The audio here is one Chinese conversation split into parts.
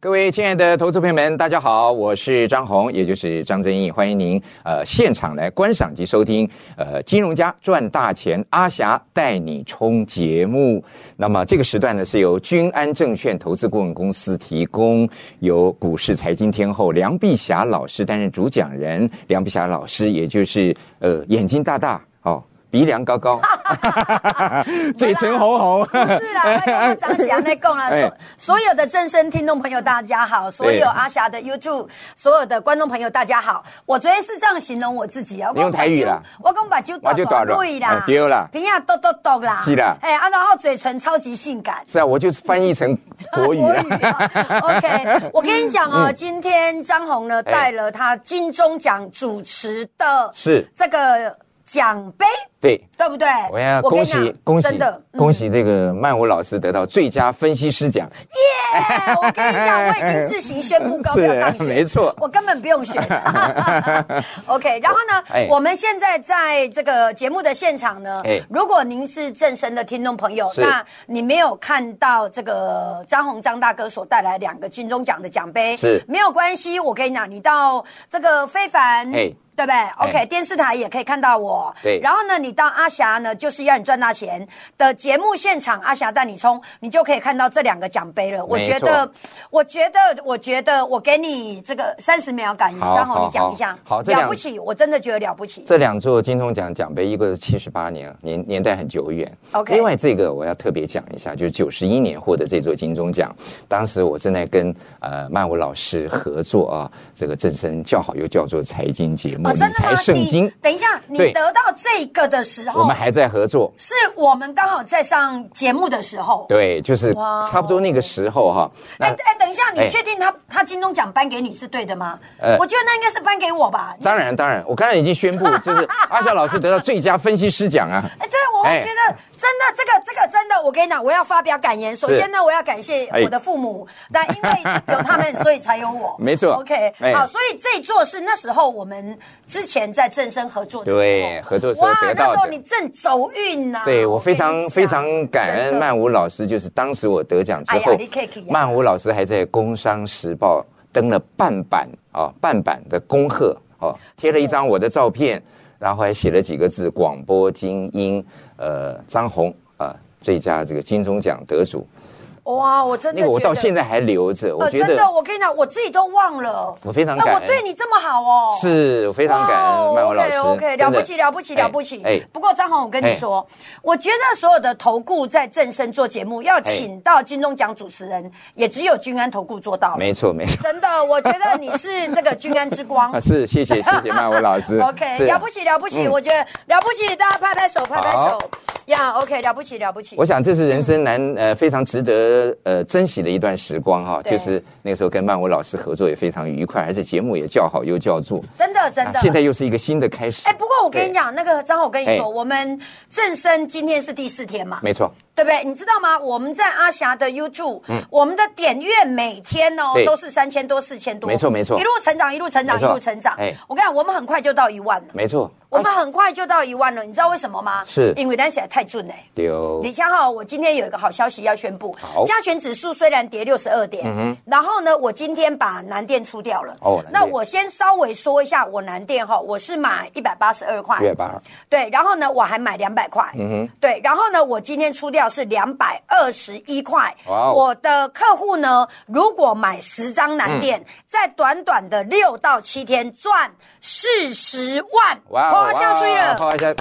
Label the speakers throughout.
Speaker 1: 各位亲爱的投资朋友们，大家好，我是张红，也就是张正义，欢迎您呃现场来观赏及收听呃《金融家赚大钱》阿霞带你冲节目。那么这个时段呢，是由君安证券投资顾问公司提供，由股市财经天后梁碧霞老师担任主讲人。梁碧霞老师，也就是呃眼睛大大哦，鼻梁高 高，嘴唇红红，
Speaker 2: 不是啦，那个张翔在供啦，
Speaker 1: 哎
Speaker 2: 所所有的正声听众朋友大家好，所有阿霞的 YouTube 所有的观众朋友大家好。我昨天是这样形容我自己啊，我
Speaker 1: 你用台语啦
Speaker 2: 我讲把酒
Speaker 1: 我就大
Speaker 2: 大
Speaker 1: 了
Speaker 2: 对
Speaker 1: 哎
Speaker 2: 啦，
Speaker 1: 对啦
Speaker 2: 鼻啊嘟嘟嘟啦，
Speaker 1: 是啦
Speaker 2: 哎啊，然后嘴唇超级性感。
Speaker 1: 是啊，我就是翻译成 国语 了。
Speaker 2: 啊 OK，我跟你讲哦，今天张红呢
Speaker 1: 哎
Speaker 2: 带了他金钟奖主持的
Speaker 1: 是
Speaker 2: 这个奖杯，
Speaker 1: 对，
Speaker 2: 对不对？
Speaker 1: 我要
Speaker 2: 跟
Speaker 1: 恭
Speaker 2: 你讲
Speaker 1: 喜恭喜
Speaker 2: 真的嗯
Speaker 1: 恭喜这个曼舞老师得到最佳分析师奖，
Speaker 2: 哎我跟你讲，我已经自行宣布高票当
Speaker 1: 是啊
Speaker 2: 选，
Speaker 1: 没错
Speaker 2: 我根本不用选。OK，然后呢，
Speaker 1: 哎
Speaker 2: 我们现在在这个节目的现场呢，
Speaker 1: 哎
Speaker 2: 如果您是正身的听众朋友，
Speaker 1: 是
Speaker 2: 那你没有看到这个张宏张大哥所带来两个金钟奖的奖杯，
Speaker 1: 是
Speaker 2: 没有关系。我跟你讲，你到这个非凡，
Speaker 1: 哎
Speaker 2: 对不对？OK，、电视台也可以看到我。
Speaker 1: 对
Speaker 2: 然后呢，你到阿霞呢，就是要你赚大钱的节目现场，阿霞带你冲，你就可以看到这两个奖杯了。我
Speaker 1: 没
Speaker 2: 觉
Speaker 1: 错
Speaker 2: 得，我觉得，我觉得，我给你这个三十秒感言，
Speaker 1: 好
Speaker 2: 张宏，
Speaker 1: 好
Speaker 2: 你讲
Speaker 1: 好
Speaker 2: 一下。
Speaker 1: 好这两
Speaker 2: 了不起，我真的觉得了不起。
Speaker 1: 这两座金钟奖奖杯一个七十八年，年年代很久远。
Speaker 2: OK
Speaker 1: 另外这个我要特别讲一下，就是九十一年获得这座金钟奖，当时我正在跟呃曼舞老师合作啊，这个正声叫好又叫做财经节
Speaker 2: 哦
Speaker 1: 目，理财圣
Speaker 2: 你哦
Speaker 1: 经，
Speaker 2: 等一下，你
Speaker 1: 对
Speaker 2: 得到这个的时
Speaker 1: 我
Speaker 2: 候
Speaker 1: 们，还在合作。
Speaker 2: 是我们刚好在上节目的时候。
Speaker 1: 对，就是
Speaker 2: 哇哦
Speaker 1: 差不多那个时候哈、那
Speaker 2: 哎哎，等一下，
Speaker 1: 哎
Speaker 2: 你确定他他金钟奖颁给你是对的吗
Speaker 1: 呃？
Speaker 2: 我觉得那应该是颁给我吧。
Speaker 1: 当然当然，我刚才已经宣布， 就是阿霞老师得到最佳分析师奖啊。
Speaker 2: 哎，对，我我
Speaker 1: 哎
Speaker 2: 觉得真的，这个这个真的，我跟你讲，我要发表感言。首先呢，我要感谢
Speaker 1: 哎
Speaker 2: 我的父母，但因为有他们，所以才有我。
Speaker 1: 没错
Speaker 2: OK，
Speaker 1: 哎
Speaker 2: 好，所以这一座是那时候我们之前在正生合作的时候，
Speaker 1: 对，合作时候
Speaker 2: 哇，
Speaker 1: 得
Speaker 2: 那
Speaker 1: 到
Speaker 2: 时候
Speaker 1: 的
Speaker 2: 你。正走运呐、
Speaker 1: 对我非
Speaker 2: 啊跟你
Speaker 1: 常
Speaker 2: 讲
Speaker 1: 非常感恩
Speaker 2: 真的
Speaker 1: 曼舞老师，就是当时我得奖之
Speaker 2: 哎
Speaker 1: 后
Speaker 2: 呀你客气啊，
Speaker 1: 曼舞老师还在《工商时报》登了半版啊半版的恭贺哦，贴了一张我的照片，然后还写了几个字“广播精英”，呃，张红啊、最佳这个金钟奖得主，
Speaker 2: 哇，我真的
Speaker 1: 那个我
Speaker 2: 觉
Speaker 1: 到
Speaker 2: 得
Speaker 1: 现在还留着，我
Speaker 2: 呃
Speaker 1: 觉
Speaker 2: 真
Speaker 1: 得
Speaker 2: 的，我跟你讲，我自己都忘了。
Speaker 1: 我非常
Speaker 2: 那
Speaker 1: 感
Speaker 2: 我
Speaker 1: 恩，
Speaker 2: 对你这么好哦，
Speaker 1: 是我非
Speaker 2: 哇
Speaker 1: 常感恩曼舞老师
Speaker 2: o k OK，
Speaker 1: 真
Speaker 2: 哦
Speaker 1: 的
Speaker 2: 了不起，了不起，
Speaker 1: 哎
Speaker 2: 了不起。
Speaker 1: 哎
Speaker 2: 不过张宏，我跟你
Speaker 1: 哎
Speaker 2: 说，我觉得所有的投顾在正身做节目，要请到金钟奖主持人，也只有君安投顾做到了。
Speaker 1: 没错没错，
Speaker 2: 真的，我觉得你是这个君安之 光
Speaker 1: 啊。是谢谢 谢谢曼舞老师
Speaker 2: OK，
Speaker 1: 是啊嗯
Speaker 2: 了不起，了不起，我觉得了不起，大家拍拍手，拍拍手。呀、o k 了不起，了不起。
Speaker 1: 我想这是人生难呃非常值得呃珍惜的一段时光哈，
Speaker 2: 对
Speaker 1: 就是那个时候跟曼舞老师合作也非常愉快，而且节目也叫好又叫座，
Speaker 2: 真的，真
Speaker 1: 啊
Speaker 2: 的。
Speaker 1: 现在又是一个新的开始。
Speaker 2: 哎、不过我跟你讲，那个张宏，我跟你
Speaker 1: 哎
Speaker 2: 说，我们正身今天是第四天嘛
Speaker 1: 对，，没错，
Speaker 2: 对不对？你知道吗？我们在阿霞的 YouTube，、我们的点阅每天哦
Speaker 1: 嗯对
Speaker 2: 都是三千多、四千多，
Speaker 1: 没错没错
Speaker 2: 一路成长，一路成长，
Speaker 1: 没
Speaker 2: 一
Speaker 1: 错
Speaker 2: 路成长。
Speaker 1: 哎
Speaker 2: 我跟你讲，我们很快就到一万了，
Speaker 1: 没错，
Speaker 2: 我们很快就到一万了。你知道为什么吗？
Speaker 1: 啊是
Speaker 2: 因为咱写的太准嘞、
Speaker 1: 丢
Speaker 2: 李强浩，我今天有一个好消息要宣布
Speaker 1: 好，嗯
Speaker 2: 加权指数虽然跌六十二点，然后呢，我今天把南电出掉了。
Speaker 1: 哦南电
Speaker 2: 那我先稍微说一下我南电哈，我是买一百八十二块，
Speaker 1: 月八，
Speaker 2: 对，然后呢，我还买两百块，嗯哼，对，然后呢，我今天出掉是两百二十一块。
Speaker 1: 哇哦
Speaker 2: 我的客户呢，如果买十张南电，
Speaker 1: 嗯
Speaker 2: 在短短的六到七天赚四十万，
Speaker 1: 哇哦
Speaker 2: 花下去了。
Speaker 1: 花下，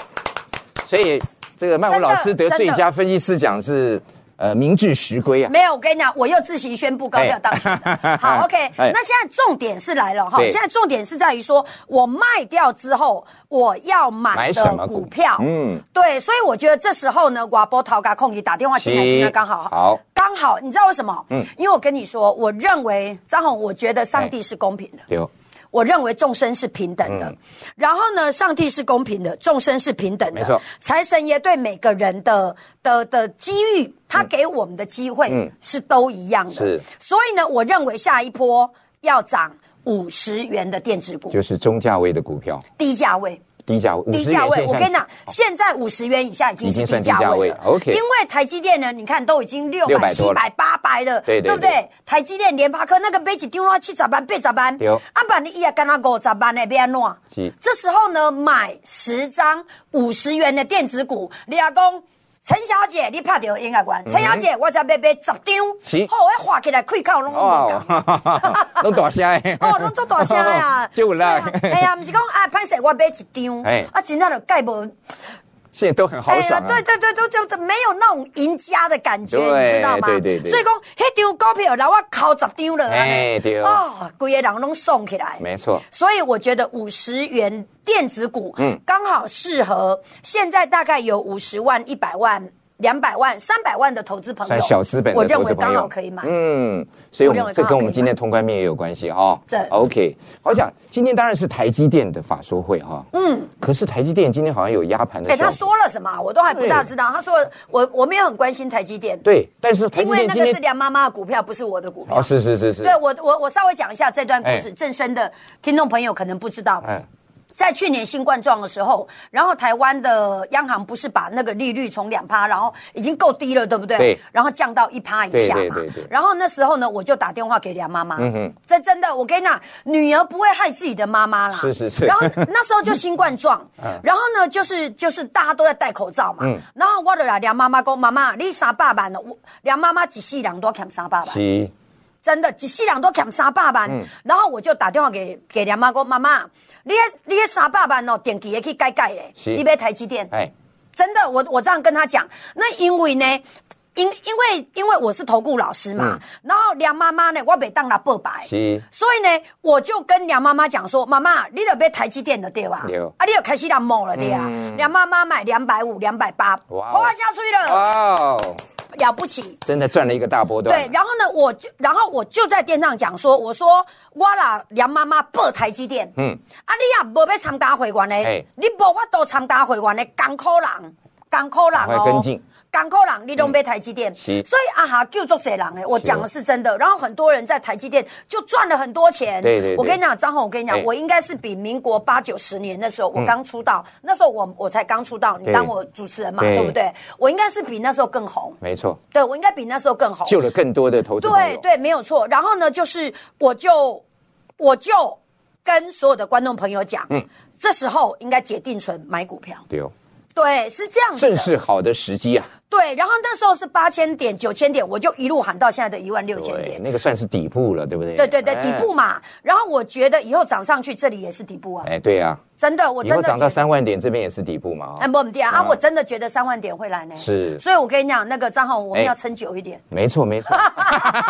Speaker 1: 所以这个曼舞老师得
Speaker 2: 真的
Speaker 1: 最佳分析师奖是呃名至实归啊，
Speaker 2: 没有，我跟你讲，我又自行宣布高票当选了。 好，OK，、
Speaker 1: 哎
Speaker 2: 那现在重点是来了哈，
Speaker 1: 对
Speaker 2: 现在重点是在于说我卖掉之后我要买
Speaker 1: 买什么
Speaker 2: 的
Speaker 1: 股
Speaker 2: 股票，
Speaker 1: 嗯
Speaker 2: 嗯，对，所以我觉得这时候呢，瓦波涛嘎空姐打电话进来，
Speaker 1: 是
Speaker 2: 今天刚好
Speaker 1: 好
Speaker 2: 刚好，你知道为什么？嗯，因为我跟你说，我认为张红，我觉得上帝是公平的。
Speaker 1: 丢
Speaker 2: 我认为众生是平等
Speaker 1: 嗯
Speaker 2: 的，然后呢，上帝是公平的，众生是平等
Speaker 1: 没错
Speaker 2: 的，财神爷对每个人的的的机遇，他给我们的机会是都一样的。
Speaker 1: 嗯是
Speaker 2: 所以呢，我认为下一波要涨五十元的电子股，
Speaker 1: 就是中价位的股票，
Speaker 2: 低价位。
Speaker 1: 低价位，
Speaker 2: 低
Speaker 1: 50
Speaker 2: 价
Speaker 1: 元
Speaker 2: 位，
Speaker 1: 现
Speaker 2: 我
Speaker 1: 象
Speaker 2: 跟你讲，现在五十元以下已经
Speaker 1: 已
Speaker 2: 是
Speaker 1: 经算
Speaker 2: 低
Speaker 1: 低价
Speaker 2: 价
Speaker 1: 位
Speaker 2: 位
Speaker 1: 了
Speaker 2: 了。
Speaker 1: ，OK
Speaker 2: 因为台积电呢，你看都已经六百、
Speaker 1: 600
Speaker 2: 七
Speaker 1: 多了
Speaker 2: 百、八百了，
Speaker 1: 对对
Speaker 2: 不对？台积电、联发科那个杯子丢了七十万、八十万
Speaker 1: 对哦，
Speaker 2: 啊，把你一也干那五十万的要安
Speaker 1: 是
Speaker 2: 怎？这时候呢，买十张五十元的电子股，你阿公。陈小姐，你拍到应该关。陈小姐，我才买买十
Speaker 1: 嗯是
Speaker 2: 张，好，我画起来开口拢无
Speaker 1: 哦
Speaker 2: 讲。，
Speaker 1: 拢大声诶，！
Speaker 2: 哦，拢做大声呀
Speaker 1: 就有啦，
Speaker 2: 哎呀，毋是讲啊，歹势我买一张
Speaker 1: 哎，
Speaker 2: 啊，真正就盖无。
Speaker 1: 现在都很豪爽啊，
Speaker 2: 哎对对对对对，对没有那种赢家的感觉，
Speaker 1: 对
Speaker 2: 你知道吗？
Speaker 1: 对对对
Speaker 2: 所以讲，迄张股票，然后我考十张了，
Speaker 1: 哎
Speaker 2: 安尼
Speaker 1: 对
Speaker 2: 哦，规个人拢送起来。
Speaker 1: 没错，
Speaker 2: 所以我觉得五十元电子股，嗯，刚好适合现在大概有五十万、一百万、两百万、三百万的投资朋友，
Speaker 1: 算小资本的
Speaker 2: 我认
Speaker 1: 投资
Speaker 2: 为
Speaker 1: 朋
Speaker 2: 刚
Speaker 1: 友
Speaker 2: 好可以买。
Speaker 1: 嗯，所以我
Speaker 2: 我认
Speaker 1: 们
Speaker 2: 为
Speaker 1: 这
Speaker 2: 刚
Speaker 1: 跟
Speaker 2: 好
Speaker 1: 我
Speaker 2: 可以
Speaker 1: 们今天通关面也有关系哈。
Speaker 2: 对
Speaker 1: ，OK，好讲，今天当然是台积电的法说会哈。嗯，可是台积电今天好像有压盘的
Speaker 2: 哎，
Speaker 1: 效
Speaker 2: 他
Speaker 1: 果。
Speaker 2: 说了什么啊？我都还不大知道。他说我我没有很关心台积电，
Speaker 1: 对，但是台
Speaker 2: 因
Speaker 1: 积
Speaker 2: 为
Speaker 1: 电
Speaker 2: 那
Speaker 1: 今
Speaker 2: 个是
Speaker 1: 天
Speaker 2: 梁妈妈的股票，不是我的股票
Speaker 1: 哦，。是是是是，
Speaker 2: 对我我我稍微讲一下这段故
Speaker 1: 哎
Speaker 2: 事，正生的听众朋友可能不知道。
Speaker 1: 哎，
Speaker 2: 在去年新冠状的时候，然后台湾的央行不是把那个利率从两趴，然后已经够低了，对不对？
Speaker 1: 对
Speaker 2: 然后降到一趴以下嘛。
Speaker 1: 对对对对
Speaker 2: 然后那时候呢，我就打电话给梁妈妈。
Speaker 1: 嗯
Speaker 2: 嗯
Speaker 1: 哼
Speaker 2: 哼。这真的，我跟你讲，女儿不会害自己的妈妈啦。
Speaker 1: 是是是嗯
Speaker 2: 然后那时候就新冠状， 然后呢，就是就是大家都在戴口罩嘛。然后我就来梁妈妈讲，妈妈，你三百万了，我梁妈妈一世人都欠三百万。
Speaker 1: 七
Speaker 2: 真的，一世人都欠三百
Speaker 1: 嗯
Speaker 2: 万。然后我就打电话给给梁妈，讲妈妈，你那你那三百万哦，电器也去改改嘞，
Speaker 1: 是
Speaker 2: 你买台积电。
Speaker 1: 哎，
Speaker 2: 真的，我我这样跟他讲，那因为呢，因因为因为我是投顾老师嘛，
Speaker 1: 嗯
Speaker 2: 然后梁妈妈呢，我被当了报白。
Speaker 1: 七
Speaker 2: 所以呢，我就跟梁妈妈讲说：“妈妈，你得买台积电的对吧？
Speaker 1: 对嗯
Speaker 2: 啊，你有开始让某了对啊。梁妈妈买两百五、两百八，
Speaker 1: 哇哦
Speaker 2: 花下去了，
Speaker 1: 哇哦，
Speaker 2: 了不起。
Speaker 1: 真的赚了一个大波段。
Speaker 2: 对，然后呢，我就然后我就在店上讲说，我说我啦梁妈妈报台积电，嗯，啊你也无要参加会员
Speaker 1: 哎
Speaker 2: 的，你无法度参加会员的艰苦人，艰苦人
Speaker 1: 赶
Speaker 2: 哦，
Speaker 1: 快跟进嗯
Speaker 2: 艰苦人，你拢买台积电，
Speaker 1: 是
Speaker 2: 所以啊哈救足侪人哎，我讲的是真的，然后很多人在台积电就赚了很多钱，
Speaker 1: 对对对
Speaker 2: 我跟你讲，张红，我跟你
Speaker 1: 哎嗯
Speaker 2: 讲，我应该是比民国八九十年那时候我刚出道，那时候我我才刚出道，你
Speaker 1: 对
Speaker 2: 当我主持人嘛，
Speaker 1: 对
Speaker 2: 对不对？我应该是比那时候更红，
Speaker 1: 没错，
Speaker 2: 对我应该比那时候更红，
Speaker 1: 救了更多的投资朋
Speaker 2: 对
Speaker 1: 友。
Speaker 2: 对，没有错。然后呢，就是我就我就跟所有的观众朋友讲，嗯，这时候应该解定存买股票，
Speaker 1: 对哦，
Speaker 2: 对，是这样子的。
Speaker 1: 正是好的时机啊。
Speaker 2: 对，然后那时候是八千点、九千点，我就一路喊到现在的一万六千
Speaker 1: 对，
Speaker 2: 点。
Speaker 1: 那个算是底部了，对不对？
Speaker 2: 对对对，
Speaker 1: 哎
Speaker 2: 底部。嘛。然后我觉得以后涨上去，这里也是底部啊，
Speaker 1: 哎，对啊，
Speaker 2: 真的，我
Speaker 1: 以
Speaker 2: 真
Speaker 1: 后
Speaker 2: 的
Speaker 1: 涨到
Speaker 2: 觉得
Speaker 1: 三万点，这边也是底部嘛。
Speaker 2: 哎，
Speaker 1: 哦
Speaker 2: 不，我们啊，
Speaker 1: 啊
Speaker 2: 啊，我真的觉得三万点会来呢。
Speaker 1: 是
Speaker 2: 所以我跟你讲，那个张浩，我们
Speaker 1: 哎
Speaker 2: 要撑久一点，
Speaker 1: 没错没错，
Speaker 2: 啊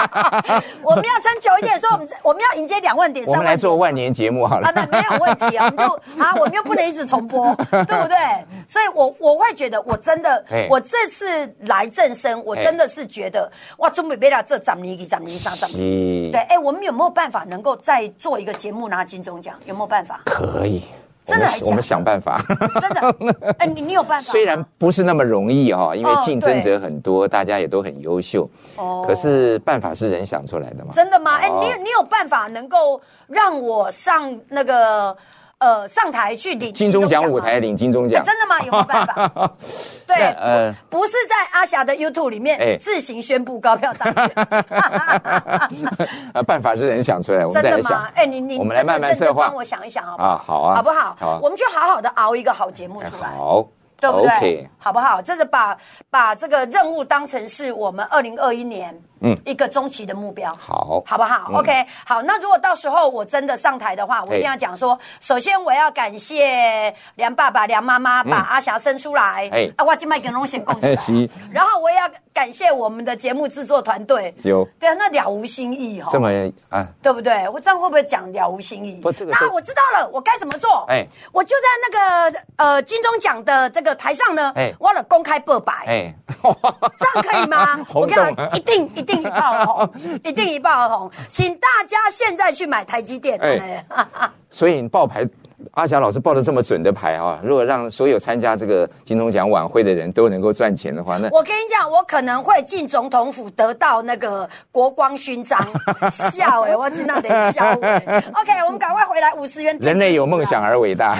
Speaker 2: 我们要撑久一 点，所以我们我们要迎接两万点、
Speaker 1: 我
Speaker 2: 三
Speaker 1: 们
Speaker 2: 万
Speaker 1: 来
Speaker 2: 点。
Speaker 1: 做万年节目好了
Speaker 2: 啊，。那没有问题啊，我们就啊，我们又不能一直重播，对不对？所以我我会觉得，我真的
Speaker 1: 嘿，
Speaker 2: 我这次来正生，我真的是觉得，哇，中美贝拉这涨年、涨年、上涨年。
Speaker 1: 是？
Speaker 2: 对，哎，我们有没有办法能够再做一个节目拿金钟奖？有没有办法
Speaker 1: 可以，我
Speaker 2: 真的
Speaker 1: 们
Speaker 2: 还假的
Speaker 1: 我们想办法。
Speaker 2: 真的，哎，你你有办法吗？
Speaker 1: 虽然不是那么容易哈、因为
Speaker 2: 哦
Speaker 1: 竞争者很多，大家也都很优秀。
Speaker 2: 哦
Speaker 1: 可是办法是人想出来的嘛。
Speaker 2: 真的吗？哎，
Speaker 1: 哦
Speaker 2: 你有你有办法能够让我上那个呃上台去领
Speaker 1: 金钟奖
Speaker 2: 吗
Speaker 1: 舞台领金钟奖
Speaker 2: 哎，真的吗？有没有办法？ 对
Speaker 1: 那，呃
Speaker 2: 不不是在阿霞的 YouTube 里
Speaker 1: 哎
Speaker 2: 面自行宣布高票当选，
Speaker 1: 啊，办法是人想出来， 我们
Speaker 2: 真
Speaker 1: 再来
Speaker 2: 的
Speaker 1: 想
Speaker 2: 吗。？哎，你你
Speaker 1: 我们来慢慢
Speaker 2: 真的认
Speaker 1: 策
Speaker 2: 真
Speaker 1: 划
Speaker 2: 帮我想一想好不好？
Speaker 1: 啊，好啊，
Speaker 2: 好不好？
Speaker 1: 好啊，
Speaker 2: 我们就好好的熬一个好节目
Speaker 1: 哎
Speaker 2: 出来。
Speaker 1: 好，
Speaker 2: 对不对
Speaker 1: OK，
Speaker 2: 好不好？真的把把这个任务当成是我们二零二一年嗯一个中期的目标，
Speaker 1: 好
Speaker 2: 好不好、o
Speaker 1: 嗯
Speaker 2: k 好。那如果到时候我真的上台的话，我一定要讲说，首先我要感谢梁爸爸、梁妈妈把阿霞生出来，
Speaker 1: 哎
Speaker 2: 啊，我金麦跟龙贤共出来
Speaker 1: 嗯 是，
Speaker 2: 然后我也要感谢我们的节目制作团队，
Speaker 1: 有
Speaker 2: 对啊，那了无新意哈、
Speaker 1: 哦这么啊，
Speaker 2: 对不对？我这样会不会讲了无新意？
Speaker 1: 不这个
Speaker 2: 那
Speaker 1: 都
Speaker 2: 我知道了，我该怎么做？
Speaker 1: 哎
Speaker 2: 我就在那个呃金钟奖的这个台上呢，
Speaker 1: 哎
Speaker 2: 我了公开告白，
Speaker 1: 哎，
Speaker 2: 这样可
Speaker 1: ？
Speaker 2: 以吗
Speaker 1: 轰
Speaker 2: 我
Speaker 1: 动
Speaker 2: 跟你讲，一定一定一炮 而红，一定一炮而红，请大家现在去买台积电。
Speaker 1: 哎
Speaker 2: 哎，哈哈
Speaker 1: 所以你爆牌阿霞老师报的这么准的牌啊，如果让所有参加这个金钟奖晚会的人都能够赚钱的话，那
Speaker 2: 我跟你讲，我可能会进总统府得到那个国光 勋章，笑哎、我真的得笑哎、OK，我们赶快回来五十元。
Speaker 1: 人类有梦想。而伟大，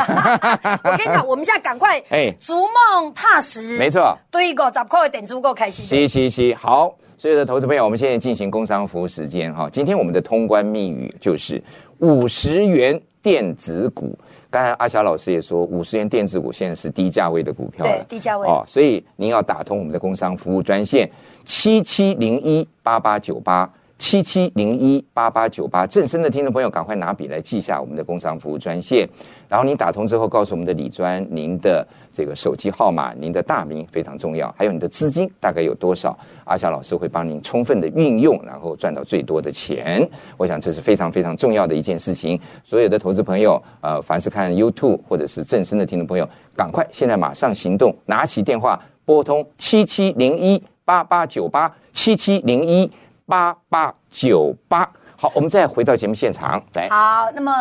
Speaker 2: 我跟你 讲，我们现在赶快，
Speaker 1: 哎
Speaker 2: 哎，逐梦踏实。
Speaker 1: 没错。
Speaker 2: 对个十块的点足够开心。
Speaker 1: 嘻嘻嘻，好。所以说，投资朋友，我们现在进行工商服务时间哈。今天我们的通关密语就是五十元电子股。刚才阿霞老师也说，五十元电子股现在是低价位的股票了，
Speaker 2: 对低价位
Speaker 1: 哦。所以您要打通我们的工商服务专线七七零一八八九八七七零一八八九八。正声的听众朋友，赶快拿笔来记下我们的工商服务专线。然后你打通之后，告诉我们的李专您的这个手机号码、您的大名非常重要，还有你的资金大概有多少，阿霞老师会帮您充分的运用，然后赚到最多的钱。我想这是非常非常重要的一件事情。所有的投资朋友，呃，凡是看 YouTube 或者是正声的听众朋友，赶快现在马上行动，拿起电话拨通七七零一八八九八七七零一八八九八。好，我们再回到节目现场来。
Speaker 2: 好，那么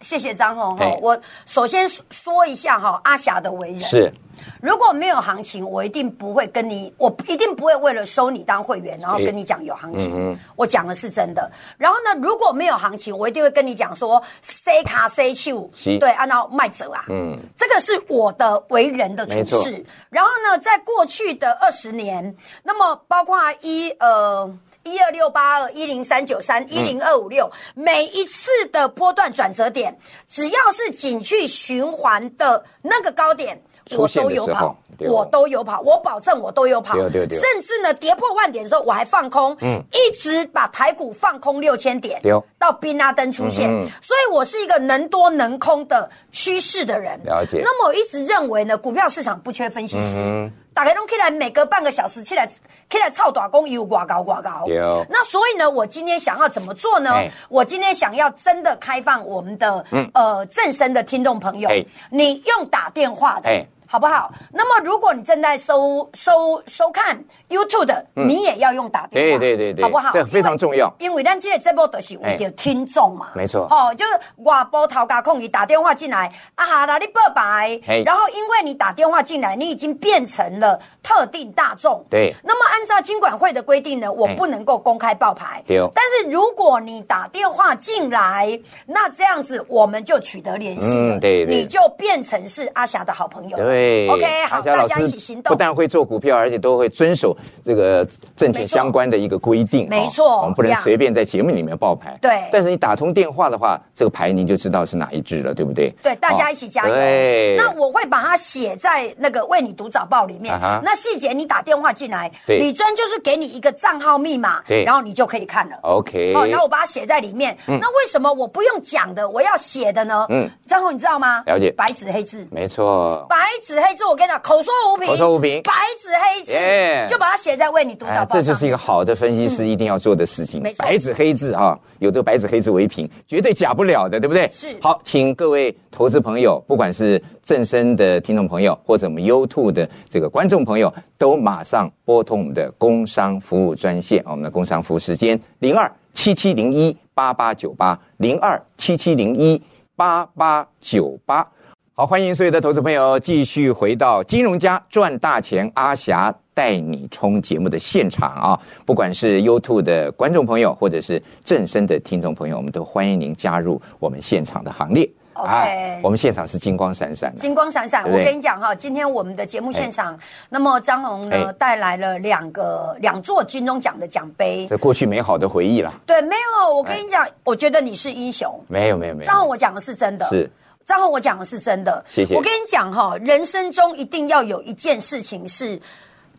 Speaker 2: 谢谢张红
Speaker 1: 哎
Speaker 2: 哈。我首先说一下哈，阿霞的为人。
Speaker 1: 是，
Speaker 2: 如果没有行情，我一定不会跟你，我一定不会为了收你当会员，然后跟你讲有行情。
Speaker 1: 嗯
Speaker 2: 我讲的是真的。然后呢，如果没有行情，我一定会跟你讲说，C 卡 C 球
Speaker 1: 是，
Speaker 2: 对，按照卖走啊。嗯，这个是我的为人的处
Speaker 1: 没错
Speaker 2: 事。然后呢，在过去的二十年，那么包括一呃。一二六八二一零三九三
Speaker 1: 嗯
Speaker 2: 一零二五六，每一次的波段转折点，只要是景气循环的那个高点，
Speaker 1: 出
Speaker 2: 我
Speaker 1: 现的
Speaker 2: 都有
Speaker 1: 时
Speaker 2: 跑
Speaker 1: 候，对哦
Speaker 2: 我都有跑，我保证我都有跑。
Speaker 1: 对哦对哦对哦
Speaker 2: 甚至呢，跌破万点的时候，我还放空，一直把台股放空六千点，
Speaker 1: 对哦嗯
Speaker 2: 到宾拉登出现，所以我是一个能多能空的趋势的人。
Speaker 1: 了解嗯
Speaker 2: 那么我一直认为呢，股票市场不缺分析师。大家都起来，每隔半个小时起来，起来操短工，有挂高挂高。
Speaker 1: 对哦
Speaker 2: 那所以呢，我今天想要怎么做呢？
Speaker 1: 哎嗯
Speaker 2: 我今天想要真的开放我们的、呃正身的听众朋友，
Speaker 1: 哎
Speaker 2: 你用打电话的。
Speaker 1: 哎
Speaker 2: 好不好？那么，如果你正在收收收看 YouTube 的，你也要用打电话，
Speaker 1: 嗯对对对对
Speaker 2: 好不好？
Speaker 1: 这非常重要
Speaker 2: 因为因为咱这个节目都是为着听众嘛，
Speaker 1: 哎没错
Speaker 2: 哦，就是外部头家控伊打电话进来，啊哈啦，你拜拜
Speaker 1: 嘿。
Speaker 2: 然后，因为你打电话进来，你已经变成了特定大众。
Speaker 1: 对
Speaker 2: 那么，按照金管会的规定呢，我
Speaker 1: 哎
Speaker 2: 不能够公开爆牌。
Speaker 1: 对哦
Speaker 2: 但是如果你打电话进来，那这样子我们就取得联系了。
Speaker 1: 嗯对对
Speaker 2: 你就变成是阿霞的好朋友。
Speaker 1: 对
Speaker 2: ，OK，
Speaker 1: 阿
Speaker 2: 好，
Speaker 1: 霞
Speaker 2: 大
Speaker 1: 老
Speaker 2: 家一
Speaker 1: 师
Speaker 2: 起行
Speaker 1: 不
Speaker 2: 动。
Speaker 1: 但会做股票，而且都会遵守这个证券相关的一个规定。
Speaker 2: 没
Speaker 1: 哦
Speaker 2: 错
Speaker 1: 我们不能
Speaker 2: 呀
Speaker 1: 随便在节目里面报牌。
Speaker 2: 对
Speaker 1: 但是你打通电话的话，这个牌您就知道是哪一支了，对不对？
Speaker 2: 对，大家
Speaker 1: 哦
Speaker 2: 一起加油。
Speaker 1: 对，
Speaker 2: 那我会把它写在那个为你读早报里面。
Speaker 1: 啊哈
Speaker 2: 那细节你打电话进来，
Speaker 1: 对
Speaker 2: 李专就是给你一个账号密码，
Speaker 1: 对
Speaker 2: 然后你就可以看了。
Speaker 1: OK，
Speaker 2: 哦，然后我把它写在里面。那为什么我不用讲的，我要写的呢？
Speaker 1: 嗯
Speaker 2: 嗯，张红，你知道吗？
Speaker 1: 了解
Speaker 2: 白纸黑字。
Speaker 1: 没错，
Speaker 2: 白纸黑字，我跟你讲，口说无凭，
Speaker 1: 口说无凭
Speaker 2: 白纸黑字
Speaker 1: Yeah
Speaker 2: 就把它写在为你读早
Speaker 1: 哎，
Speaker 2: 报
Speaker 1: 这
Speaker 2: 上。
Speaker 1: 就是一个好的分析师一定要做的事情。
Speaker 2: 没错
Speaker 1: 白纸黑字啊，有这个白纸黑字为凭，绝对假不了的，对不对？
Speaker 2: 是
Speaker 1: 好，请各位投资朋友，不管是正身的听众朋友，或者我们 YouTube 的这个观众朋友，都马上拨通我们的工商服务专线，啊我们的工商服务时间零二七七零一八八九八零二七七零一八八九八。好，欢迎所有的投资朋友继续回到《金融家赚大钱》，阿霞带你冲节目的现场啊！不管是 YouTube 的观众朋友，或者是正声的听众朋友，我们都欢迎您加入我们现场的行列。啊
Speaker 2: OK
Speaker 1: 我们现场是金光闪闪的，
Speaker 2: 金光闪闪，
Speaker 1: 对不
Speaker 2: 我
Speaker 1: 对
Speaker 2: 跟你讲哈，今天我们的节目现场，那么张红
Speaker 1: 哎
Speaker 2: 呢带来了两个两座金钟奖的奖杯，
Speaker 1: 这过去美好的回忆啦。
Speaker 2: 对，没有，我跟你讲，我觉得你是英雄。
Speaker 1: 没有哎没有没有，
Speaker 2: 张宏，我讲的是真的。
Speaker 1: 是。
Speaker 2: 张宏，我讲的是真的。
Speaker 1: 谢谢
Speaker 2: 我跟你讲哈、人生中一定要有一件事情是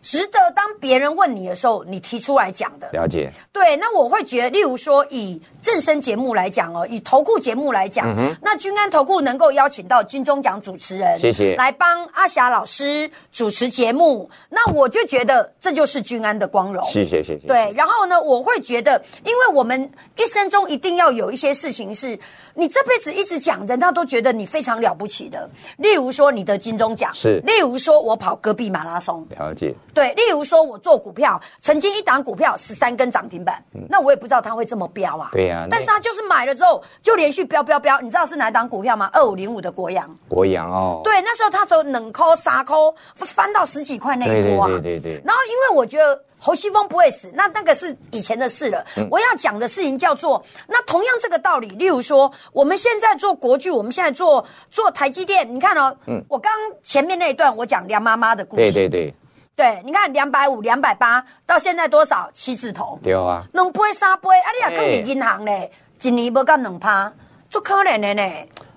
Speaker 2: 值得当别人问你的时候，你提出来讲的。
Speaker 1: 了解，
Speaker 2: 对，那我会觉得，例如说以正声节目来讲哦，以投顾节目来讲，
Speaker 1: 嗯
Speaker 2: 那君安投顾能够邀请到金钟奖主持人，
Speaker 1: 谢谢
Speaker 2: 来帮阿霞老师主持节目，那我就觉得这就是君安的光荣。
Speaker 1: 谢谢谢谢。，
Speaker 2: 哦对，然后呢，我会觉得，因为我们一生中一定要有一些事情是你这辈子一直讲，人家都觉得你非常了不起的。例如说你的金钟奖，
Speaker 1: 是
Speaker 2: 例如说我跑戈壁马拉松，
Speaker 1: 了解，
Speaker 2: 对，例如说我做股票，曾经一档股票十三根涨停板，那我也不知道它会这么飙啊。
Speaker 1: 嗯对呀那
Speaker 2: 但是它就是买了之后就连续飙飙飙，你知道是哪一档股票吗？二五零五的国阳。
Speaker 1: 国阳哦，
Speaker 2: 对，那时候他从冷抠、傻抠翻到十几块那一波啊。
Speaker 1: 对对对对对
Speaker 2: 然后因为我觉得侯西峰不会死，那那个是以前的事了。
Speaker 1: 嗯
Speaker 2: 我要讲的事情叫做，那同样这个道理，例如说我们现在做国剧，我们现在做做台积电，你看哦，我刚前面那一段我讲梁妈妈的故
Speaker 1: 嗯对
Speaker 2: 事，
Speaker 1: 对对，
Speaker 2: 对你看两百五、两百八，到现在多少？七字头，
Speaker 1: 对啊，
Speaker 2: 两杯三杯，啊，你也放
Speaker 1: 哎
Speaker 2: 伫银行嘞，一年无到两趴，足可怜的呢，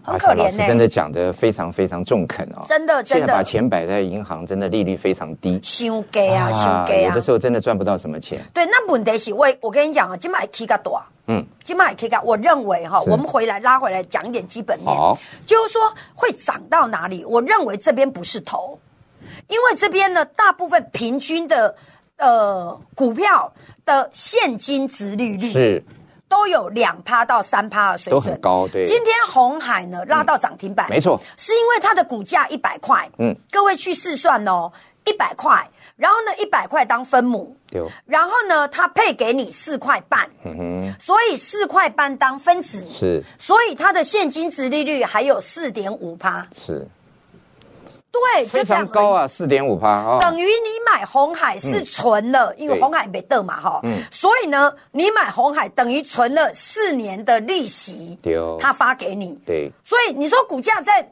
Speaker 2: 很可
Speaker 1: 啊老
Speaker 2: 怜
Speaker 1: 师
Speaker 2: 呢。
Speaker 1: 真的讲的非常非常中肯哦，
Speaker 2: 真的真
Speaker 1: 现
Speaker 2: 的
Speaker 1: 在把钱摆在银行，真的利率非常低，
Speaker 2: 伤低啊，伤低
Speaker 1: 有
Speaker 2: 啊
Speaker 1: 的。时候真的赚不到什么钱，
Speaker 2: 对，那问题是我我跟你讲啊，今麦 K 个多，
Speaker 1: 嗯，
Speaker 2: 今麦 K 个，我认为哈，
Speaker 1: 是
Speaker 2: 我们回来拉回来讲一点基本面
Speaker 1: 好，
Speaker 2: 就是说会涨到哪里？我认为这边不是头，因为这边呢，大部分平均的呃股票的现金值利率
Speaker 1: 是
Speaker 2: 都有两趴到三趴的水
Speaker 1: 都
Speaker 2: 准，
Speaker 1: 很高对
Speaker 2: 今天红海呢拉到涨停板，
Speaker 1: 没错
Speaker 2: 是因为它的股价一百块，
Speaker 1: 嗯
Speaker 2: 嗯，各位去试算哦，一百块，然后呢一百块当分母，
Speaker 1: 对哦
Speaker 2: 然后呢它配给你四块半，所以四块半当分子，
Speaker 1: 是
Speaker 2: 所以它的现金值利率还有四点五趴，
Speaker 1: 是
Speaker 2: 对，
Speaker 1: 非
Speaker 2: 就这样
Speaker 1: 常
Speaker 2: 而已
Speaker 1: 高啊，四点五趴啊，
Speaker 2: 等于你买红海是存了，因为
Speaker 1: 嗯对嗯
Speaker 2: 红海没得嘛哈，所以呢，你买红海等于存了四年的利息
Speaker 1: 对哦，
Speaker 2: 他发给你，
Speaker 1: 对，
Speaker 2: 所以你说股价在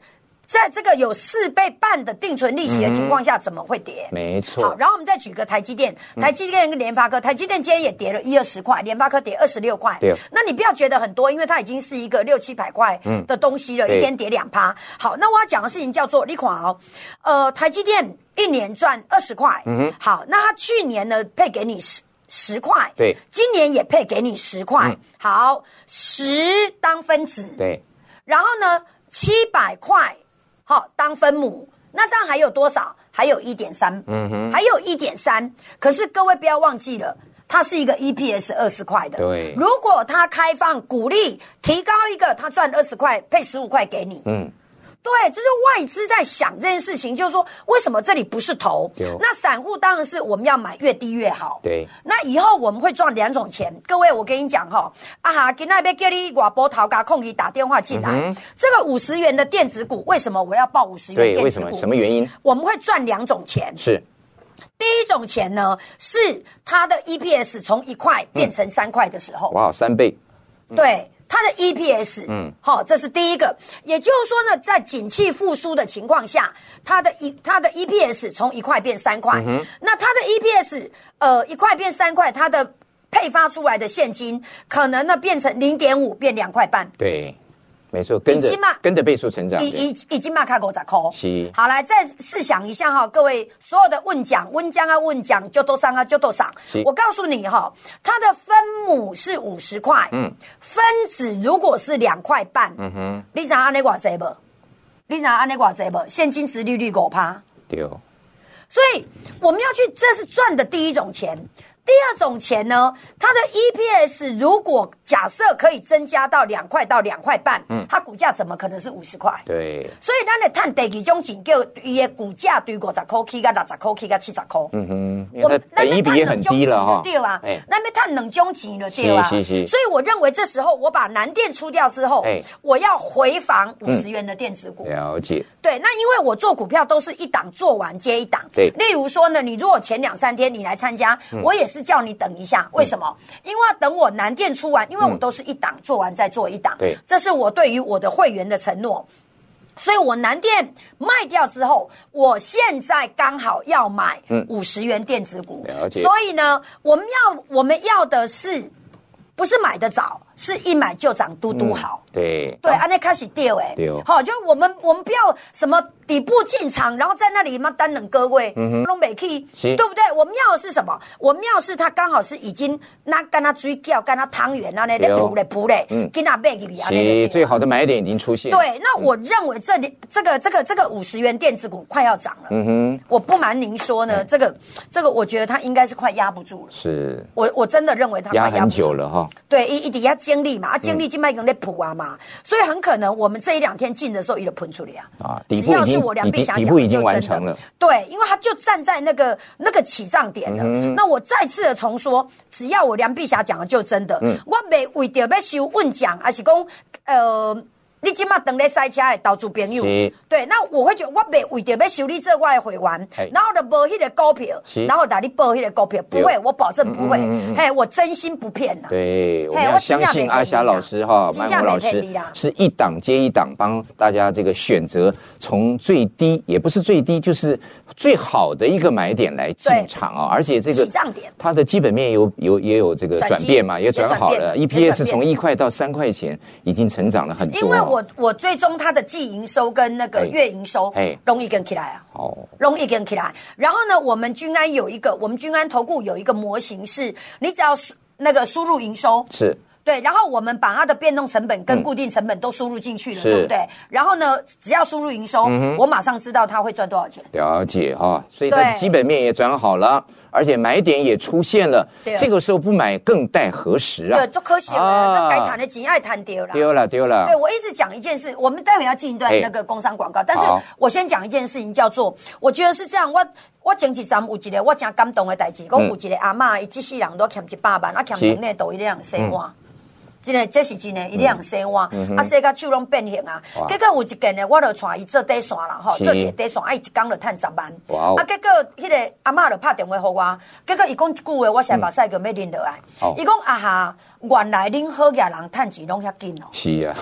Speaker 2: 在这个有四倍半的定存利息
Speaker 1: 嗯
Speaker 2: 的情况下，怎么会跌？
Speaker 1: 没
Speaker 2: 好
Speaker 1: 错，，嗯
Speaker 2: 然后我们再举个台积电，台积电跟联发科，台积电今天也跌了一二十块，联发科跌二十六块。
Speaker 1: 对
Speaker 2: 那你不要觉得很多，因为它已经是一个六七百块的东西了，
Speaker 1: 对
Speaker 2: 一天跌两趴。好，那我要讲的事情叫做，你看哦，呃，台积电一年赚二十块，嗯，好，那它去年呢配给你十。十块，
Speaker 1: 对嗯
Speaker 2: 今年也配给你十块，好，十当分子，
Speaker 1: 对，
Speaker 2: 然后呢，七百块，好、当分母，那这样还有多少？还有一点三，嗯哼，还有一点三。可是各位不要忘记了。它是一个 EPS 二十块的，
Speaker 1: 对
Speaker 2: 如果它开放鼓励提高一个，它赚二十块配十五块给你，
Speaker 1: 嗯
Speaker 2: 嗯，对，就是外资在想这件事情，就是说为什么这里不是头
Speaker 1: 有？
Speaker 2: 那散户当然是我们要买越低越好，
Speaker 1: 对
Speaker 2: 那以后我们会赚两种钱，各位，我跟你讲哈、啊哈，今那边叫你外波头家控你打电话进来，
Speaker 1: 嗯
Speaker 2: 这个五十元的电子股，为什么我要报五十元
Speaker 1: 对，为
Speaker 2: 电子
Speaker 1: 什
Speaker 2: 股？
Speaker 1: 么？什么原因？
Speaker 2: 我们会赚两种钱，
Speaker 1: 是
Speaker 2: 第一种钱呢是它的 EPS 从一块变成三块的时候，
Speaker 1: 哇，三倍，
Speaker 2: 对。它的 EPS，嗯，好，这是第一个。也就是说呢，在景气复苏的情况下，它的一它的 EPS 从一块变三块，那它的 EPS 呃一块变三块，它的配发出来的现金可能呢变成零点五变两块半，
Speaker 1: 对，没错，跟
Speaker 2: 已
Speaker 1: 着
Speaker 2: 经嘛
Speaker 1: 跟着倍数成长，
Speaker 2: 已已已经马卡狗仔扣。
Speaker 1: 是
Speaker 2: 好来，再试想一下哈，各位所有的问讲、温江啊、问讲、就都上啊、就都上
Speaker 1: 是。
Speaker 2: 我告诉你哈，它的分母是五十块，嗯，分子如果是两块半，嗯哼，你知安尼偌济无？你知安尼偌济无？现金值利率五趴，
Speaker 1: 对哦，
Speaker 2: 所以我们要去，这是赚的第一种钱。第二种钱呢，它的 EPS 如果假设可以增加到两块到两块半，嗯，它股价怎么可能是五十块？
Speaker 1: 对，
Speaker 2: 所以咱来探第二种钱，叫伊的股价对五十块起到六十块起到七十块。嗯
Speaker 1: 嗯，因为它本益比也很低了哈，
Speaker 2: 对啊吧？
Speaker 1: 哎，
Speaker 2: 那边探冷中级了，对吧？
Speaker 1: 是是是
Speaker 2: 所以我认为这时候我把南电出掉之后
Speaker 1: 哎，嗯
Speaker 2: 我要回防五十元的电子股。
Speaker 1: 了解，
Speaker 2: 对，那因为我做股票都是一档做完接一档。
Speaker 1: 对嗯
Speaker 2: 例如说呢，你如果前两三天你来参加，我也是叫你等一下，为什么？因为要等我南电出完，因为我都是一档做完再做一档。
Speaker 1: 嗯对
Speaker 2: 这是我对于我的会员的承诺。所以我南电卖掉之后，我现在刚好要买五十元电子股，
Speaker 1: 嗯了解
Speaker 2: 所以呢，我们要我们要的是，不是买的早，是一买就涨，嘟嘟好。
Speaker 1: 嗯对
Speaker 2: 对，安尼开始掉哎，
Speaker 1: 哦对哦
Speaker 2: 好，就我们我们不要什么底部进场，然后在那里嘛单冷各位，弄北 K，
Speaker 1: 嗯是
Speaker 2: 对不对？我们要的是什么？我们要的是它刚好是已经那干它水饺，干它汤圆啊，那
Speaker 1: 对
Speaker 2: 咧
Speaker 1: 哦
Speaker 2: 扑嘞扑嘞
Speaker 1: 嗯，
Speaker 2: 给它背给你啊，
Speaker 1: 其
Speaker 2: 对
Speaker 1: 最好的买点已经出现，，
Speaker 2: 对，那我认为这里这个这个这个五十元电子股快要涨了，嗯哼，我不瞒您说
Speaker 1: 嗯
Speaker 2: 呢，这个这个我觉得它应该是快压不住了，
Speaker 1: 是
Speaker 2: 我我真的认为它快
Speaker 1: 压
Speaker 2: 压
Speaker 1: 很
Speaker 2: 不住，
Speaker 1: 久了哈，
Speaker 2: 对，一一底下吃精力嘛，
Speaker 1: 嗯
Speaker 2: 啊，精力静脉梗在补啊嘛，所以很可能我们这一两天进的时候，一个喷出来啊。
Speaker 1: 啊，底
Speaker 2: 只
Speaker 1: 部
Speaker 2: 要
Speaker 1: 已
Speaker 2: 是
Speaker 1: 经
Speaker 2: 我梁
Speaker 1: 已
Speaker 2: 碧
Speaker 1: 经
Speaker 2: 霞
Speaker 1: 底
Speaker 2: 讲
Speaker 1: 部
Speaker 2: 的
Speaker 1: 已经
Speaker 2: 就
Speaker 1: 完
Speaker 2: 真
Speaker 1: 成
Speaker 2: 的
Speaker 1: 了。
Speaker 2: 对，因为他就站在那个那个起涨点了。
Speaker 1: 嗯
Speaker 2: 那我再次的重说，只要我梁碧霞讲的就真的，
Speaker 1: 嗯
Speaker 2: 我没为着要收问讲，而是讲呃。你即马等咧塞车的投资朋友
Speaker 1: 是，
Speaker 2: 对，那我会觉得我袂为着要修理这我的会员
Speaker 1: 嘿，
Speaker 2: 然后就无迄个股票
Speaker 1: 是，
Speaker 2: 然后来你报迄个股票，不
Speaker 1: 对
Speaker 2: 会，我保证不会
Speaker 1: 嗯嗯嗯嗯，
Speaker 2: 嘿，我真心不骗呐。
Speaker 1: 对，我们
Speaker 2: 嘿
Speaker 1: 要
Speaker 2: 我
Speaker 1: 相
Speaker 2: 真正
Speaker 1: 信
Speaker 2: 没
Speaker 1: 阿
Speaker 2: 骗
Speaker 1: 霞
Speaker 2: 你
Speaker 1: 老
Speaker 2: 啦
Speaker 1: 师哈，
Speaker 2: 真
Speaker 1: 曼
Speaker 2: 正
Speaker 1: 谷
Speaker 2: 没
Speaker 1: 老
Speaker 2: 骗
Speaker 1: 师
Speaker 2: 你啦
Speaker 1: 是一档接一档帮大家这个选择，从最低也不是最低，就是最好的一个买点来进
Speaker 2: 对
Speaker 1: 场啊，而且这个
Speaker 2: 起涨点
Speaker 1: 它的基本面有有也有这个
Speaker 2: 转
Speaker 1: 转
Speaker 2: 机
Speaker 1: 变嘛，也
Speaker 2: 也
Speaker 1: 转
Speaker 2: 转
Speaker 1: 好
Speaker 2: 变
Speaker 1: 了
Speaker 2: 也转
Speaker 1: ，EPS 从
Speaker 2: 变
Speaker 1: 一块到三块钱，已经成长了很多啊。
Speaker 2: 因为我我追踪它的季营收跟那
Speaker 1: 哎
Speaker 2: 个月营收
Speaker 1: 哎，
Speaker 2: 容易跟起来啊。
Speaker 1: 哦，
Speaker 2: 容易跟起来。然后呢，我们均安有一个，我们均安投顾有一个模型是，你只要输那个输入营收。
Speaker 1: 是
Speaker 2: 对，然后我们把它的变动成本跟固定成本都输入进去了，
Speaker 1: 嗯是嗯
Speaker 2: 对不对？然后呢，只要输入营收，我马上知道它会赚多少钱。
Speaker 1: 了解哈、所以它的
Speaker 2: 对
Speaker 1: 基本面也转好了，而且买点也出现了
Speaker 2: 对，啊
Speaker 1: 这个时候不买更待何时啊
Speaker 2: 对，？就可惜了，
Speaker 1: 啊
Speaker 2: 那该谈的钱爱谈丢了。
Speaker 1: 丢了丢了
Speaker 2: 对，，我一直讲一件事，我们待会要进一段
Speaker 1: 哎
Speaker 2: 那个工商广告，但是
Speaker 1: 好
Speaker 2: 我先讲一件事情，叫做我觉得是这样，我我前几站有一个我真感动的代志，讲有一个阿嬷，伊一世人都欠一百万，啊欠
Speaker 1: 嗯是嗯
Speaker 2: 两内都一两洗碗。真的，这是真的，一两洗碗，啊，洗到手拢变形啊
Speaker 1: 哇。
Speaker 2: 结果有一间呢，我就带伊做底线啦，吼，
Speaker 1: 是
Speaker 2: 做一个底线，啊，伊一工就趁十万。
Speaker 1: 哇哦
Speaker 2: 啊，结果迄个阿嬷就拍电话给我，结果伊讲一句话，我现在目屎就要淋落来
Speaker 1: 哦。
Speaker 2: 伊讲啊哈，原来恁好嘢人趁钱拢遐紧哦。
Speaker 1: 是啊，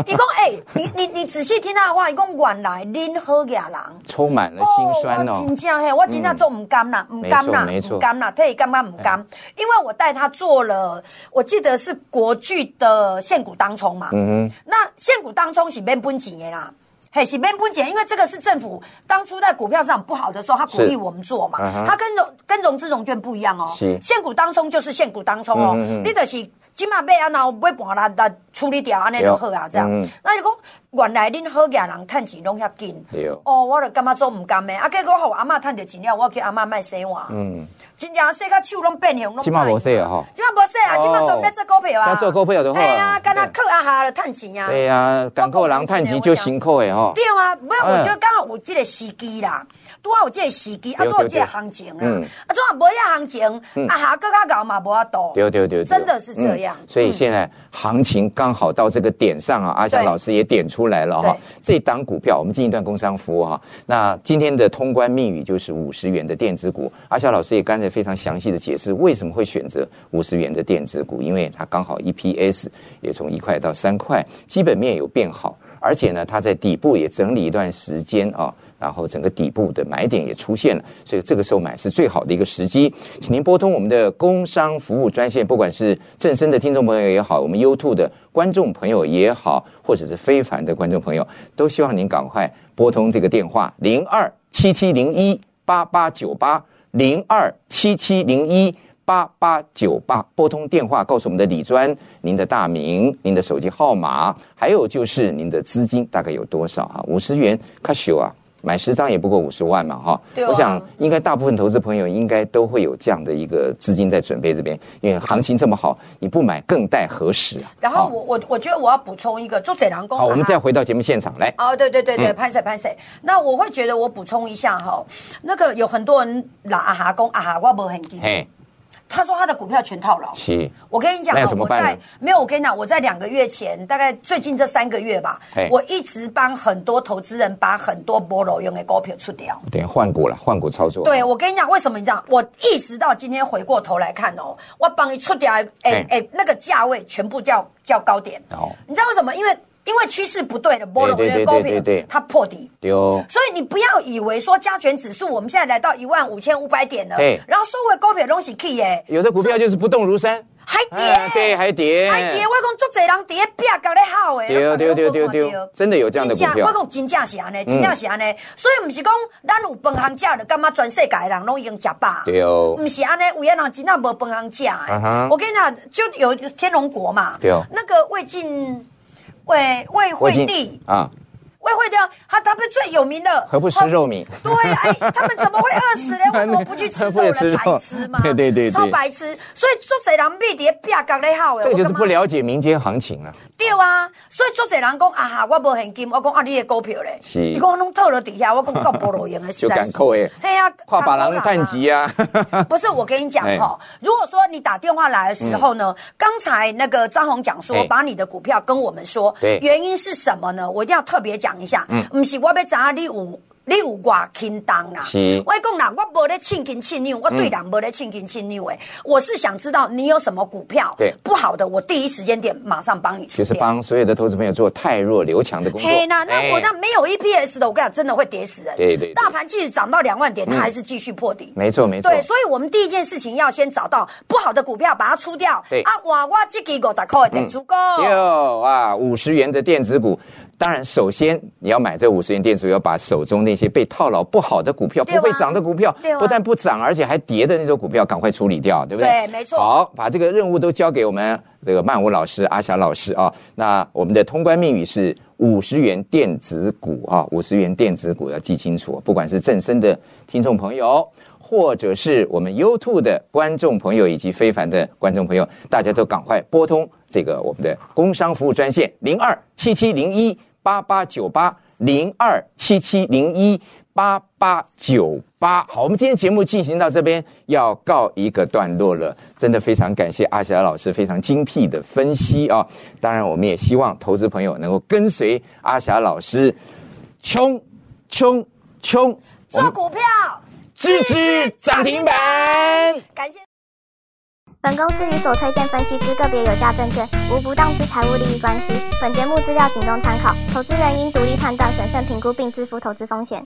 Speaker 2: 伊讲哎，你你你仔细听他的话，伊讲原来恁好野人。
Speaker 1: 充满了心酸
Speaker 2: 我
Speaker 1: 哦
Speaker 2: 真。正嘿，我真正做唔甘啦，唔甘啦，
Speaker 1: 没错哎
Speaker 2: 唔甘啦，他也干嘛唔甘？因为我带他做了，我记得是国剧的现股当冲嘛。嗯那现股当冲是免本钱的啦。嘿，是免本钱，因为这个是政府当初在股票市场不好的时候，他鼓励
Speaker 1: 是
Speaker 2: 我们做嘛。
Speaker 1: 嗯哼
Speaker 2: 他跟融跟融资融券不一样哦。
Speaker 1: 是
Speaker 2: 现股当冲就是现股当冲哦，
Speaker 1: 嗯嗯嗯
Speaker 2: 你就是即马买啊，然后买盘啦，来处理掉安尼就好啊，这样。
Speaker 1: 嗯
Speaker 2: 那就讲，原来恁好野人趁钱拢遐紧
Speaker 1: 对，
Speaker 2: 哦，我就感觉做毋甘的，啊，结果互阿嬷趁着钱了，我叫阿嬷卖洗碗，嗯，真正洗到手拢变形，拢
Speaker 1: 起码我说啊哈，
Speaker 2: 即马无洗啊，
Speaker 1: 哦
Speaker 2: 即马专门在做股票啊，
Speaker 1: 要做股票就好啊
Speaker 2: 哎呀，
Speaker 1: 对
Speaker 2: 敢若靠阿下就趁钱啊，
Speaker 1: 对呀，港口狼探集就辛苦哎哈，
Speaker 2: 对啊，没有，
Speaker 1: 哎
Speaker 2: 我觉得刚好有这个时机啦，拄好有这个时机，啊，
Speaker 1: 对
Speaker 2: 拄好有这
Speaker 1: 对对
Speaker 2: 个行情
Speaker 1: 嗯
Speaker 2: 啦，啊，拄好无遐行情，啊，下更较搞嘛无法度，
Speaker 1: 丢丢丢，对
Speaker 2: 哦
Speaker 1: 哦嗯
Speaker 2: 真的是这样嗯
Speaker 1: 所以现在行情刚好到这个点上啊，阿翔
Speaker 2: 对
Speaker 1: 老师也点出来了哈
Speaker 2: 对。
Speaker 1: 这档股票我们进一段工商服务哈。那今天的通关密语就是五十元的电子股，阿翔老师也刚才非常详细的解释为什么会选择五十元的电子股，因为它刚好 EPS 也从一块到三块，基本面有变好，而且呢它在底部也整理一段时间啊。然后整个底部的买点也出现了，所以这个时候买是最好的一个时机。请您拨通我们的工商服务专线，不管是正声的听众朋友也好，我们 YouTube 的观众朋友也好，或者是非凡的观众朋友，都希望您赶快拨通这个电话零二七七零一八八九八零二七七零一。八八九八拨通电话，告诉我们的李专您的大名、您的手机号码，还有就是您的资金大概有多少啊？五十元，卡修啊，买十张也不过五十万嘛，哈、
Speaker 2: 对啊
Speaker 1: 我想应该大部分投资朋友应该都会有这样的一个资金在准备这边，因为行情这么好，你不买更待何时啊？
Speaker 2: 然后
Speaker 1: 好
Speaker 2: 我我我觉得我要补充一个，做贼人工。啊
Speaker 1: 好，我们嗯再回到节目现场来。
Speaker 2: 哦，对对对对，潘 Sir 潘 Sir，那我会觉得我补充一下哈，那个有很多人拿啊哈公啊哈，我没很金，
Speaker 1: 嘿，
Speaker 2: 他说他的股票全套牢。
Speaker 1: 是
Speaker 2: 我跟你讲
Speaker 1: 那
Speaker 2: 啊，
Speaker 1: 要怎么
Speaker 2: 我
Speaker 1: 办呢
Speaker 2: 在没有，我跟你讲，我在两个月前，大概最近这三个月吧
Speaker 1: 嘿，
Speaker 2: 我一直帮很多投资人把很多菠萝用的股票出掉。
Speaker 1: 等换股了，换股操作。
Speaker 2: 对，我跟你讲，为什么你这样？我一直到今天回过头来看哦，我帮你出掉，哎
Speaker 1: 哎
Speaker 2: 哎，诶那个价位全部叫叫高点。
Speaker 1: 哦
Speaker 2: 你知道为什么？因为因为趋势不对的，波罗
Speaker 1: 对对
Speaker 2: 的
Speaker 1: 对
Speaker 2: 高
Speaker 1: 对对
Speaker 2: 点它破底。
Speaker 1: 丢，
Speaker 2: 所以你不要以为说加权指数我们现在来到一万五千五百点了
Speaker 1: 对，
Speaker 2: 然后收回高点东西 key 耶，
Speaker 1: 有的股票就是不动如山，
Speaker 2: 还
Speaker 1: 哎对，
Speaker 2: 跌，
Speaker 1: 还跌，
Speaker 2: 还跌，我讲足侪人跌壁角咧好诶，
Speaker 1: 对
Speaker 2: 我讲
Speaker 1: 对对
Speaker 2: 我看
Speaker 1: 对对
Speaker 2: 到
Speaker 1: 真的有这样的股票嗯
Speaker 2: 真正我讲真正是安尼，真正是安尼，所以毋是讲咱有饭通食，就感觉全世界的人拢已经食饱。
Speaker 1: 丢，
Speaker 2: 不是安尼，有些人真正无饭通食
Speaker 1: 嗯哼
Speaker 2: 的。我跟你讲，就有天龙国嘛
Speaker 1: 对哦，
Speaker 2: 那个魏晋魏魏惠帝
Speaker 1: 啊，
Speaker 2: 魏惠的，他他们最有名的
Speaker 1: 何不食肉糜？
Speaker 2: 对，哎，他们怎么会饿 死呢？为什么不去吃肉
Speaker 1: 不吃
Speaker 2: 呢？
Speaker 1: 肉
Speaker 2: 白痴 吗？
Speaker 1: 对对对对
Speaker 2: 超白痴。所以做贼人必跌啪角咧好诶，
Speaker 1: 这个就
Speaker 2: 我
Speaker 1: 是
Speaker 2: 干嘛
Speaker 1: 不了解民间行情了。
Speaker 2: 对啊，所以足侪人讲啊哈，我无现金，我讲啊你的股票咧，
Speaker 1: 是
Speaker 2: 伊讲我拢套落底下，我讲够无 路用的，实
Speaker 1: 就
Speaker 2: 在
Speaker 1: 敢
Speaker 2: 是。
Speaker 1: 扣诶，
Speaker 2: 嘿啊，
Speaker 1: 跨把
Speaker 2: 港
Speaker 1: 郎
Speaker 2: 股
Speaker 1: 探
Speaker 2: 啊
Speaker 1: 级 啊，
Speaker 2: 不是，我跟你讲
Speaker 1: 哎嗯
Speaker 2: 哈、如果说你打电话来的时候呢，刚才那个张红讲说
Speaker 1: 哎
Speaker 2: 把你的股票跟我们说
Speaker 1: 对，嗯
Speaker 2: 原因是什么呢？我一定要特别讲一下，不是我要知道你有。你有偌轻当啦
Speaker 1: 是！嗯
Speaker 2: 我讲啦，我无咧轻轻轻牛，我对人无咧轻轻轻牛诶。我是想知道你有什么股票，
Speaker 1: 对
Speaker 2: 不好的，我第一时间点马上帮你
Speaker 1: 就
Speaker 2: 处
Speaker 1: 是
Speaker 2: 理。啊
Speaker 1: 帮所有的投资朋友做太弱留强的工作。
Speaker 2: 嘿，那那我
Speaker 1: 哎
Speaker 2: 那没有 EPS 的，我跟你讲，真的会跌死人。
Speaker 1: 对对对嗯
Speaker 2: 大盘即使涨到两万点，它还是继续破底。
Speaker 1: 没错没错，
Speaker 2: 对，所以我们第一件事情要先找到不好的股票，把它出掉。
Speaker 1: 对嗯
Speaker 2: 啊，哇，我这个五十块的足够。
Speaker 1: 有啊，五十元的电子股，当然首先你要买这五十元电子股，要把手中那些被套牢不好的股票、
Speaker 2: 对啊
Speaker 1: 不会涨的股票
Speaker 2: 对啊，
Speaker 1: 不但不涨，而且还跌的那种股票，赶快处理掉，对不对？
Speaker 2: 对没错
Speaker 1: 好，把这个任务都交给我们这个曼舞老师、阿霞老师啊。那我们的通关密语是。五十元电子股啊，五十元电子股要记清楚，不管是正身的听众朋友，或者是我们 YouTube 的观众朋友以及非凡的观众朋友，大家都赶快拨通这个我们的工商服务专线零二七七零一八八九八零二七七零一八八九八。好，我们今天节目进行到这边要告一个段落了，真的非常感谢阿霞老师非常精辟的分析啊！当然，我们也希望投资朋友能够跟随阿霞老师冲冲冲，我
Speaker 2: 做
Speaker 1: 们
Speaker 2: 股票，
Speaker 1: 支持涨停板。
Speaker 2: 感谢。
Speaker 3: 本公司与所推荐分析之个别有价证券无不当之财务利益关系。本节目资料仅供参考，投资人应独立判断、审慎评估并自负投资风险。